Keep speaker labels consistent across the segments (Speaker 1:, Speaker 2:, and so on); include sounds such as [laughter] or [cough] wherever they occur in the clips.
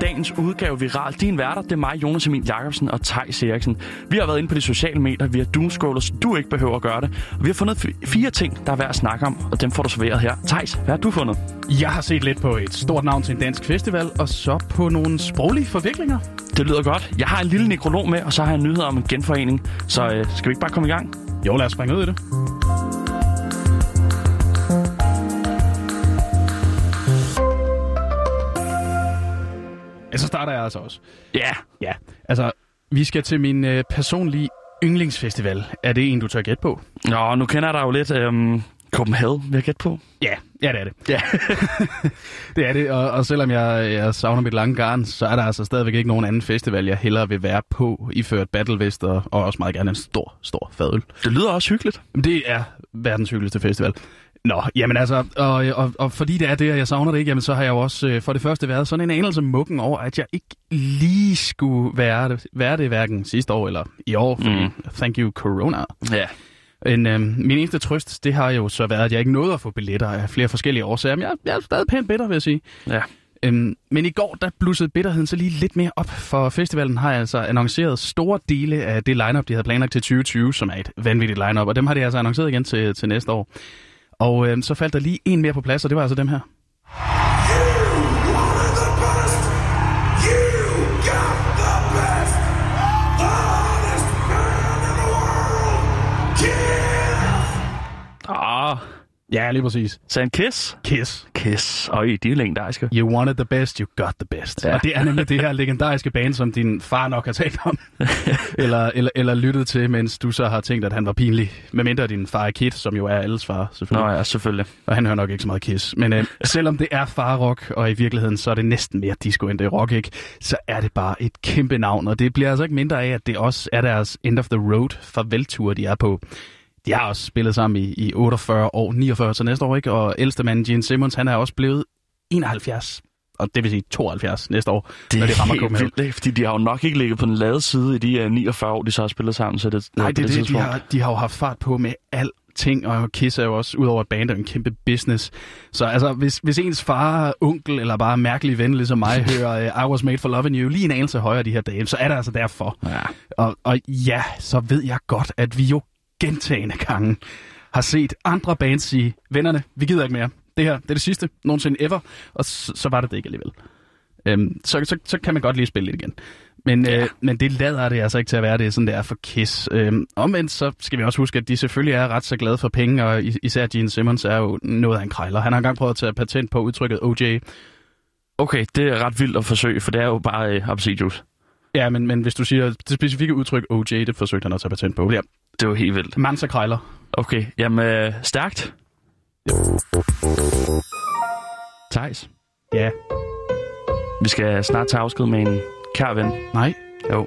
Speaker 1: dagens udgave Viral. Din værter, det er mig, Jonas Emil Jacobsen og Tejs Eriksen. Vi har været inde på de sociale medier, vi har doomscroller, så du ikke behøver at gøre det. Og vi har fundet f- fire ting, der er værd at snakke om, og dem får du serveret her. Tejs, hvad har du fundet?
Speaker 2: Jeg har set lidt på et stort navn til en dansk festival, og så på nogle sproglige forviklinger.
Speaker 1: Det lyder godt. Jeg har en lille nekrolog med, og så har jeg nyheder om en genforening. Så øh, skal vi ikke bare komme i gang?
Speaker 2: Jo, lad os springe ud i det. Ja, så starter jeg altså også.
Speaker 1: Ja. Yeah.
Speaker 2: Ja, altså, vi skal til min øh, personlige yndlingsfestival. Er det en, du tør gætte på?
Speaker 1: Nå, nu kender jeg dig jo lidt. Øhm, Copenhagen, vil jeg gætte på.
Speaker 2: Ja, ja det er det.
Speaker 1: Ja.
Speaker 2: [laughs] Det er det, og, og selvom jeg, jeg savner mit lange garn, så er der altså stadigvæk ikke nogen anden festival, jeg hellere vil være på, iført Battlevest og, og også meget gerne en stor, stor fadøl.
Speaker 1: Det lyder også hyggeligt.
Speaker 2: Jamen, Det er verdens hyggeligste festival. Nå, jamen altså, og, og, og fordi det er det, og jeg savner det ikke, jamen så har jeg jo også øh, for det første været sådan en anelse mukken over, at jeg ikke lige skulle være det, være det hverken sidste år eller i år, fordi
Speaker 1: Mm.
Speaker 2: mm. thank you corona.
Speaker 1: Ja.
Speaker 2: Men øh, min eneste trøst, det har jo så været, at jeg ikke nåede at få billetter af flere forskellige årsager, men jeg, jeg er stadig pænt bitter, vil jeg sige.
Speaker 1: Ja.
Speaker 2: Øhm, men i går, der blussede bitterheden så lige lidt mere op, for festivalen har altså annonceret store dele af det lineup, de havde planlagt til 2020, som er et vanvittigt lineup, og dem har de altså annonceret igen til, til næste år. Og øhm, så faldt der lige en mere på plads, og det var altså dem her.
Speaker 1: Ah,
Speaker 2: Ja, lige præcis.
Speaker 1: så en kiss.
Speaker 2: Kiss.
Speaker 1: Kiss. Øj, de er legendariske.
Speaker 2: [laughs] You wanted the best, you got the best.
Speaker 1: Ja.
Speaker 2: Ja. Og det er nemlig det her legendariske band, som din far nok har talt om. eller, eller, eller lyttet til, mens du så har tænkt, at han var pinlig. Medmindre din far er Kid, som jo er alles far, selvfølgelig.
Speaker 1: Nå ja, selvfølgelig.
Speaker 2: Og han hører nok ikke så meget Kiss. Men øh, selvom det er farrock, og i virkeligheden så er det næsten mere disco end det er rock, ikke? så er det bare et kæmpe navn. Og det bliver altså ikke mindre af, at det også er deres end of the road farveltur, de er på. De har også spillet sammen i, i 48 år, 49 til næste år, ikke? Og ældste mand, Gene Simmons, han er også blevet 71. Og det vil sige 72 næste år, det når det rammer
Speaker 1: helt
Speaker 2: Copenhagen.
Speaker 1: vildt, ikke? fordi de har jo nok ikke ligget på den lade side i de uh, 49 år, de så har spillet sammen. Så det,
Speaker 2: Nej,
Speaker 1: på
Speaker 2: det er det, de
Speaker 1: tidspunkt.
Speaker 2: har, de har jo haft fart på med alting, og Kiss er jo også, udover et band, er en kæmpe business. Så altså, hvis, hvis ens far, onkel eller bare mærkelig ven, ligesom
Speaker 1: [laughs]
Speaker 2: mig, hører øh, I Was Made For Loving You lige en anelse højere de her dage, så er det altså derfor.
Speaker 1: Ja.
Speaker 2: Og, og ja, så ved jeg godt, at vi jo gentagende gange har set andre bands sige, vennerne, vi gider ikke mere. Det her, det er det sidste nogensinde ever. Og så, så var det det ikke alligevel. Øhm, så, så, så kan man godt lige spille lidt igen. Men,
Speaker 1: Ja.
Speaker 2: øh, men det lader det altså ikke til at være, det er sådan, det er for Kiss. Øhm, omvendt så skal vi også huske, at de selvfølgelig er ret så glade for penge, og is- især Gene Simmons er jo noget af en krejler. Han har engang prøvet at tage patent på udtrykket OJ.
Speaker 1: Okay, det er ret vildt at forsøge, for det er jo bare uh, Juice.
Speaker 2: Ja, men, men hvis du siger det specifikke udtryk OJ, det forsøgte han at tage patent på. Ja,
Speaker 1: Det er jo helt vildt.
Speaker 2: Mansa krejler.
Speaker 1: Okay, jamen uh, stærkt. Thijs,
Speaker 2: Ja.
Speaker 1: vi skal snart tage afsked med en kær ven.
Speaker 2: Nej.
Speaker 1: Jo.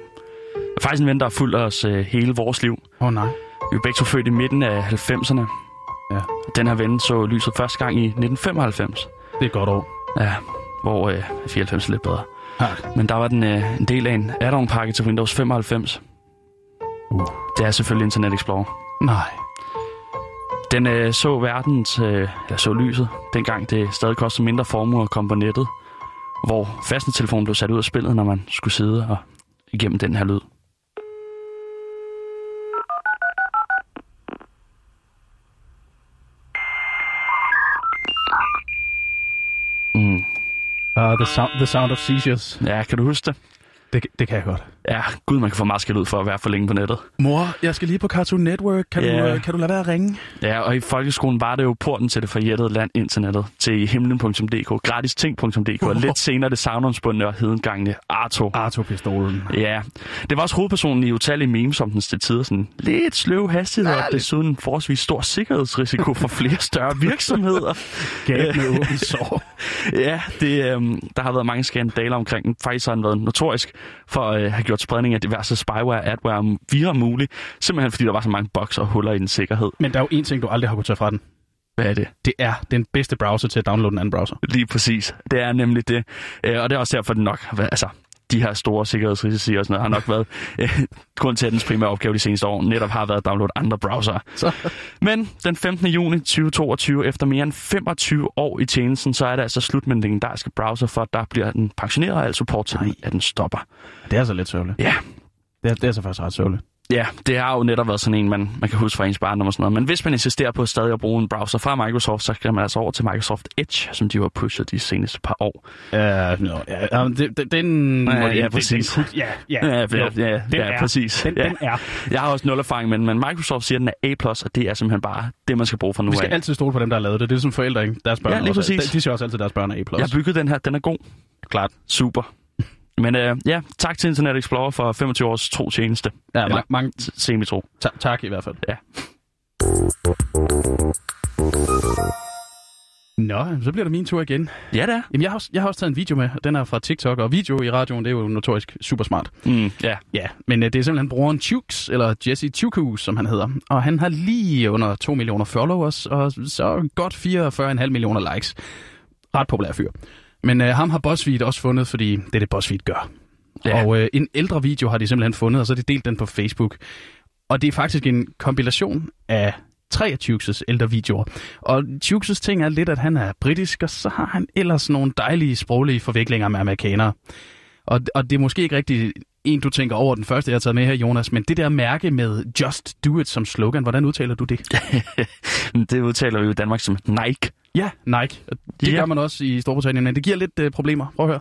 Speaker 1: Faktisk en ven, der har fulgt os uh, hele vores liv.
Speaker 2: Åh oh, nej.
Speaker 1: Vi er begge to født i midten af 90'erne.
Speaker 2: Ja.
Speaker 1: Den her ven så lyset første gang i 1995.
Speaker 2: Det er et godt år.
Speaker 1: Ja, hvor øh, 94 er lidt bedre.
Speaker 2: Ja.
Speaker 1: Men der var den øh, en del af en add-on-pakke til Windows 95.
Speaker 2: Uh.
Speaker 1: Det er selvfølgelig Internet Explorer.
Speaker 2: Nej.
Speaker 1: Den øh, så verdens, øh, eller så lyset, dengang det stadig kostede mindre formue at komme på nettet. Hvor fastnettelefonen blev sat ud af spillet, når man skulle sidde og igennem den her lyd. Mm.
Speaker 2: Uh, the, sound, the Sound of Seizures.
Speaker 1: Ja, kan du huske det?
Speaker 2: Det, det kan jeg godt.
Speaker 1: Ja, gud, man kan få meget skæld ud for at være for længe på nettet.
Speaker 2: Mor, jeg skal lige på Cartoon Network. Kan,
Speaker 1: Ja.
Speaker 2: du, øh, kan du lade være at ringe?
Speaker 1: Ja, og i folkeskolen var det jo porten til det forjættede land internettet, til himlen.dk, gratisting.dk, og
Speaker 2: [laughs]
Speaker 1: lidt senere det savnomsbundne og hedengangende Arto.
Speaker 2: Arto-pistolen.
Speaker 1: Ja, det var også hovedpersonen i utallige memes om den til tider sådan lidt sløv hastighed, og desuden en forholdsvis stor sikkerhedsrisiko for flere større virksomheder. Øh,
Speaker 2: Gab med åbent sår.
Speaker 1: Ja, det, øhm, der har været mange skandaler omkring den. Faktisk har den været notorisk for at øh, have gjort spredning af diverse spyware, adware og virer mulig, simpelthen fordi der var så mange boks og huller i den sikkerhed.
Speaker 2: [laughs] Men der er jo en ting, du aldrig har kunnet tage fra den.
Speaker 1: Hvad er det?
Speaker 2: Det er den bedste browser til at downloade en anden browser.
Speaker 1: Lige præcis. Det er nemlig det. Øh, Og det er også derfor, den nok har været- altså, de her store sikkerhedsrisici og sådan noget, har nok været [laughs] øh, grund til, at dens primære opgave de seneste år netop har været at downloade andre browsere.
Speaker 2: Så.
Speaker 1: Men den 15. juni 2022, efter mere end 25 år i tjenesten, så er det altså slut med den legendariske browser, for der bliver den pensioneret og al support til, den, at den stopper.
Speaker 2: Det er så lidt sørgeligt.
Speaker 1: Ja,
Speaker 2: Det er, det er så faktisk ret sørgeligt.
Speaker 1: Ja, det har jo netop været sådan en, man, man kan huske fra ens barndom og sådan noget. Men hvis man insisterer på stadig at bruge en browser fra Microsoft, så skal man altså over til Microsoft Edge, som de jo har pushet de seneste par år.
Speaker 2: Uh, no, ja, ja, det, det, den...
Speaker 1: Ja,
Speaker 2: må det-
Speaker 1: ja,
Speaker 2: det-
Speaker 1: præcis.
Speaker 2: Den, ja, ja,
Speaker 1: Ja, ja,
Speaker 2: jo,
Speaker 1: ja,
Speaker 2: den
Speaker 1: ja,
Speaker 2: er,
Speaker 1: præcis.
Speaker 2: Den,
Speaker 1: Ja.
Speaker 2: den er.
Speaker 1: Jeg har også nul erfaring, men, men Microsoft siger, at den er A+, og det er simpelthen bare det, man skal bruge fra nu
Speaker 2: Vi skal
Speaker 1: af.
Speaker 2: altid stole på dem, der har lavet det. Det er som forældre, ikke? Deres børn
Speaker 1: Ja, lige
Speaker 2: også-
Speaker 1: præcis.
Speaker 2: De, de ser også altid, at deres børn er A+.
Speaker 1: Jeg har bygget den her, den er god.
Speaker 2: klart.
Speaker 1: Super. Men øh, ja, tak til Internet Explorer for 25 års tro tjeneste.
Speaker 2: Ja,
Speaker 1: Eller-
Speaker 2: ma- mange
Speaker 1: T- Semi-tro.
Speaker 2: ta- tak i hvert fald.
Speaker 1: Ja.
Speaker 2: Nå, så bliver det min tur igen.
Speaker 1: Ja, det er.
Speaker 2: Jamen, jeg har, også, jeg har også taget en video med, og den er fra TikTok, og video i radioen, det er jo notorisk super smart.
Speaker 1: Mm, ja.
Speaker 2: Ja, men øh, det er simpelthen brugeren Tukes, eller Jesse Tuku, som han hedder. Og han har lige under 2 millioner followers, og så godt 44,5 millioner likes. Ret populær fyr. Men øh, ham har BuzzFeed også fundet, fordi det er det, BuzzFeed gør.
Speaker 1: Ja. [laughs]
Speaker 2: Ja. Og øh, en ældre video har de simpelthen fundet, og så har de delt den på Facebook. Og det er faktisk en kompilation af tre af Tukes' ældre videoer. Og Tukes' ting er lidt, at han er britisk, og så har han ellers nogle dejlige sproglige forviklinger med amerikanere. Og, og det er måske ikke rigtig en, du tænker over den første, jeg har taget med her, Jonas, men det der mærke med Just Do It som slogan, hvordan udtaler du det?
Speaker 1: Det udtaler vi jo i Danmark som Nike.
Speaker 2: Ja, Nike. Og Det
Speaker 1: Ja.
Speaker 2: gør man også i Storbritannien, men det giver lidt øh, problemer. Prøv at høre.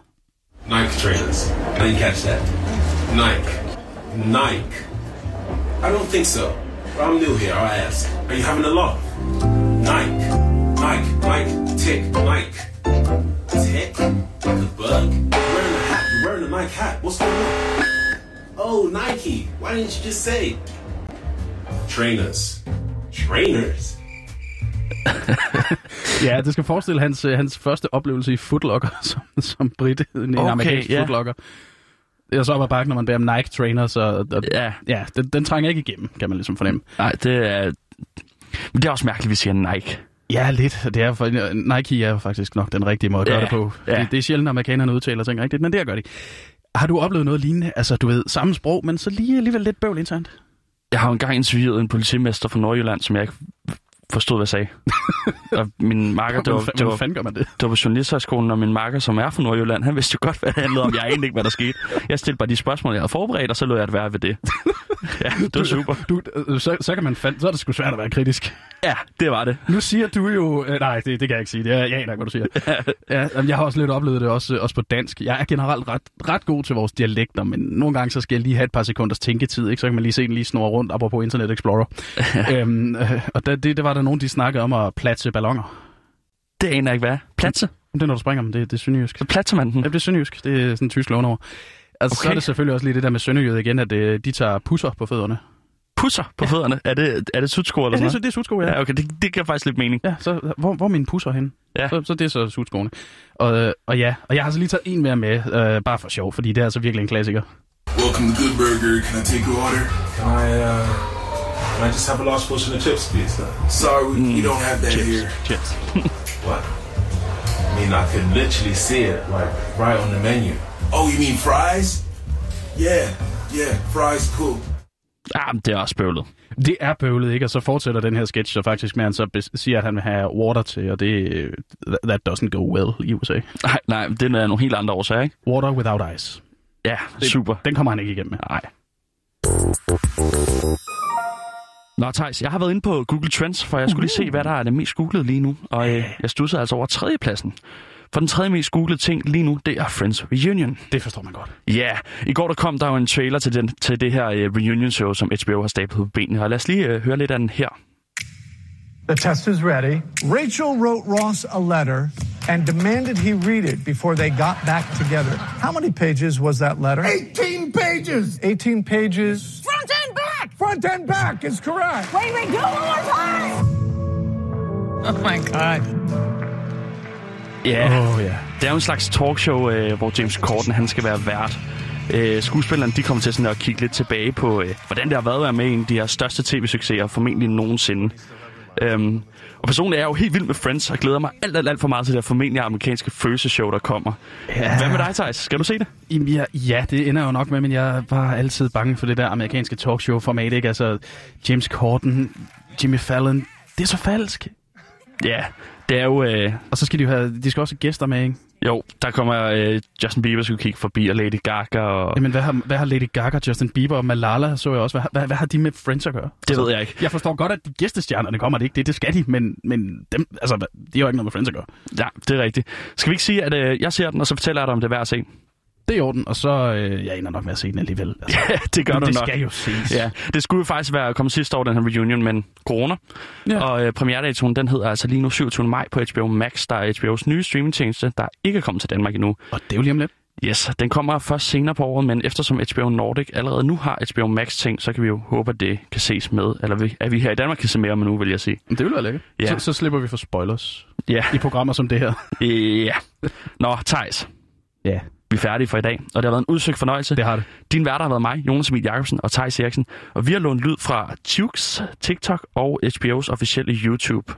Speaker 3: Nike trainers. How you catch that? Nike. Nike. I don't think so. But I'm new here. I'll ask. Are you having a laugh? Nike. Nike. Nike. Tick. Nike. Tick. The bug. You're wearing a hat. You're wearing a Nike hat. What's going on? Oh, Nike. Why didn't you just say? Trainers. Trainers.
Speaker 2: Ja, det skal forestille hans, øh, hans første oplevelse i footlocker, [laughs] som, som britte, en
Speaker 1: Okay,
Speaker 2: okay, amerikansk
Speaker 1: ja.
Speaker 2: yeah. footlocker. Det er så op ad bakken, når man bærer om Nike trainers, og, og
Speaker 1: Ja.
Speaker 2: ja den, den trænger ikke igennem, kan man ligesom fornemme.
Speaker 1: Nej, det er... Men det er også mærkeligt, at vi siger Nike.
Speaker 2: Ja, lidt. Det er for, Nike er faktisk nok den rigtige måde at gøre
Speaker 1: Ja,
Speaker 2: ja, det på.
Speaker 1: ja.
Speaker 2: Ja. Det, det er sjældent, at amerikanerne udtaler ting rigtigt, men det gør de. Har du oplevet noget lignende? Altså, du ved, samme sprog, men så lige alligevel lidt bøvl internt?
Speaker 1: Jeg har jo engang interviewet en politimester fra Nordjylland, som jeg ikke forstod, hvad jeg sagde. og min marker, det var,
Speaker 2: Hvordan
Speaker 1: det
Speaker 2: fa-
Speaker 1: var,
Speaker 2: hvordan fanden gør man det?
Speaker 1: det var på Journalisthøjskolen, og min marker, som er fra Nordjylland, han vidste jo godt, hvad det handlede om. Jeg anede ikke, hvad der skete. Jeg stillede bare de spørgsmål, jeg havde forberedt, og så lod jeg det være ved det. ja, det var super.
Speaker 2: Du, øh, så, så, kan man fand- så er det sgu svært at være kritisk.
Speaker 1: Ja, det var det.
Speaker 2: Nu siger du jo... Øh, nej, det, det kan jeg ikke sige. Det er, jeg aner ikke, hvad du [laughs] siger. ja, jamen, jeg har også lidt oplevet det, også, øh, også på dansk. Jeg er generelt ret, ret god til vores dialekter, men nogle gange så skal jeg lige have et par sekunders tænketid, ikke? så kan man lige se den lige snurre rundt, apropos Internet [laughs] Explorer. øhm, øh, og der, det, der var der nogen, de snakkede om at platse ballonger.
Speaker 1: Det aner jeg ikke, hvad er. Platse.
Speaker 2: Det er, når du springer dem, det, det er sønderjysk.
Speaker 1: Så platser man den.
Speaker 2: Ja, det er sønderjysk. Det er sådan tysk lånord. Altså, okay. Så
Speaker 1: Okay.
Speaker 2: er det selvfølgelig også lige det der med sønderjyde igen, at øh, de tager pusser på fødderne.
Speaker 1: Pusser på fødderne. Er det, er det sutsko eller
Speaker 2: Ja, det
Speaker 1: sådan
Speaker 2: er, så-
Speaker 1: noget?
Speaker 2: det er sutsko, ja.
Speaker 1: Ja, okay, det, det giver faktisk lidt mening.
Speaker 2: Ja, så hvor, hvor er mine pusser henne?
Speaker 1: Ja.
Speaker 2: Ja. Så, så det er så sutskoene. Og, øh, og ja, og jeg har så lige taget en mere med, øh, bare for sjov, fordi det er altså virkelig en klassiker.
Speaker 4: Welcome to Good Burger. Can I take your order?
Speaker 3: Can I, uh, can I just have a large portion of chips, please? sir?
Speaker 4: Sorry, we, we don't have that here.
Speaker 1: Chips.
Speaker 3: What? I mean, I could literally see it, like, right on the menu.
Speaker 4: Oh, you mean fries? Yeah, yeah, fries, cool.
Speaker 1: Ah, men det er også bøvlet.
Speaker 2: Det er bøvlet, ikke? Og så fortsætter den her sketch så faktisk med, at han så bes- siger, at han vil have water til, og det, øh, that- that doesn't go well i USA.
Speaker 1: Nej, nej, det er nogle helt andre årsager, ikke?
Speaker 2: Water without ice.
Speaker 1: Ja, super.
Speaker 2: Den kommer han ikke igennem med.
Speaker 1: Nej. Nå, Thijs, jeg har været inde på Google Trends, for jeg skulle lige se, hvad der er det mest googlede lige nu. Og øh, jeg stussede altså over tredjepladsen. For den tredje mest googlede ting lige nu, det er Friends Reunion.
Speaker 2: Det forstår man godt.
Speaker 1: Ja, yeah. i går der kom der jo en trailer til, den, til det her øh, reunion-show, som HBO har stablet på benene. Og lad os lige øh, høre lidt af den her.
Speaker 5: The test is ready. Rachel wrote Ross a letter and demanded he read it before they got back together. How many pages was that letter?
Speaker 6: 18 pages!
Speaker 5: 18 pages.
Speaker 6: Front and back!
Speaker 5: Front and back is correct.
Speaker 6: Wait, wait, do it one more time! Oh my god.
Speaker 1: Ja, yeah.
Speaker 2: Åh oh, ja.
Speaker 1: det er jo en slags talkshow, øh, hvor James Corden han skal være vært. Øh, skuespillerne de kommer til sådan at kigge lidt tilbage på, øh, hvordan det har været at være med i en af de her største tv-succeser formentlig nogensinde. Øhm, og personligt er jeg jo helt vild med Friends, og glæder mig alt, alt, alt for meget til det her formentlig amerikanske følelseshow, der kommer. Ja. Hvad med dig, Thijs? Skal du se det?
Speaker 2: Jamen, ja, ja, det ender jo nok med, men jeg var altid bange for det der amerikanske talkshow-format, ikke? Altså, James Corden, Jimmy Fallon, det er så falsk.
Speaker 1: Ja, det er jo... Øh...
Speaker 2: Og så skal de jo have, de skal også have gæster med, ikke?
Speaker 1: Jo, der kommer øh, Justin Bieber, skulle kigge forbi, og Lady Gaga. Og...
Speaker 2: Jamen, hvad har, hvad har Lady Gaga, Justin Bieber og Malala, så jeg også. Hvad, hvad, hvad har de med Friends at gøre?
Speaker 1: Det altså, ved jeg ikke.
Speaker 2: Jeg forstår godt, at de gæstestjernerne kommer, det ikke det, det skal de, men, men dem, altså, de har jo ikke noget med Friends at gøre.
Speaker 1: Ja, det er rigtigt. Skal vi ikke sige, at øh, jeg ser den, og så fortæller jeg dig, om det er værd at se?
Speaker 2: Det er i orden, og så øh, jeg ender nok med at se
Speaker 1: [laughs]
Speaker 2: den alligevel.
Speaker 1: Altså, ja, [laughs] det gør
Speaker 2: men
Speaker 1: du
Speaker 2: det
Speaker 1: nok.
Speaker 2: skal jo ses.
Speaker 1: Ja, [laughs] det skulle jo faktisk være kommet sidste år, den her reunion, men corona. Ja. Og øh, premieredatoen, den hedder altså lige nu 27. maj på HBO Max, der er HBO's nye streamingtjeneste, der ikke er kommet til Danmark endnu.
Speaker 2: Og det er jo lige om lidt.
Speaker 1: Yes, den kommer først senere på året, men eftersom HBO Nordic allerede nu har HBO Max ting, så kan vi jo håbe, at det kan ses med. Eller vi, at vi her i Danmark kan se mere om nu, vil jeg sige.
Speaker 2: Det vil være lækkert.
Speaker 1: Ja.
Speaker 2: Så, så slipper vi for spoilers [laughs]
Speaker 1: Ja,
Speaker 2: i programmer som det her.
Speaker 1: ja. Nå, Thijs,
Speaker 2: Ja,
Speaker 1: vi er færdige for i dag, og det har været en udsøgt fornøjelse.
Speaker 2: det har det.
Speaker 1: Din værter har været mig, Jonas Emil Jacobsen og Thijs Eriksen, og vi har lånt lyd fra Tukes, TikTok og HBO's officielle YouTube.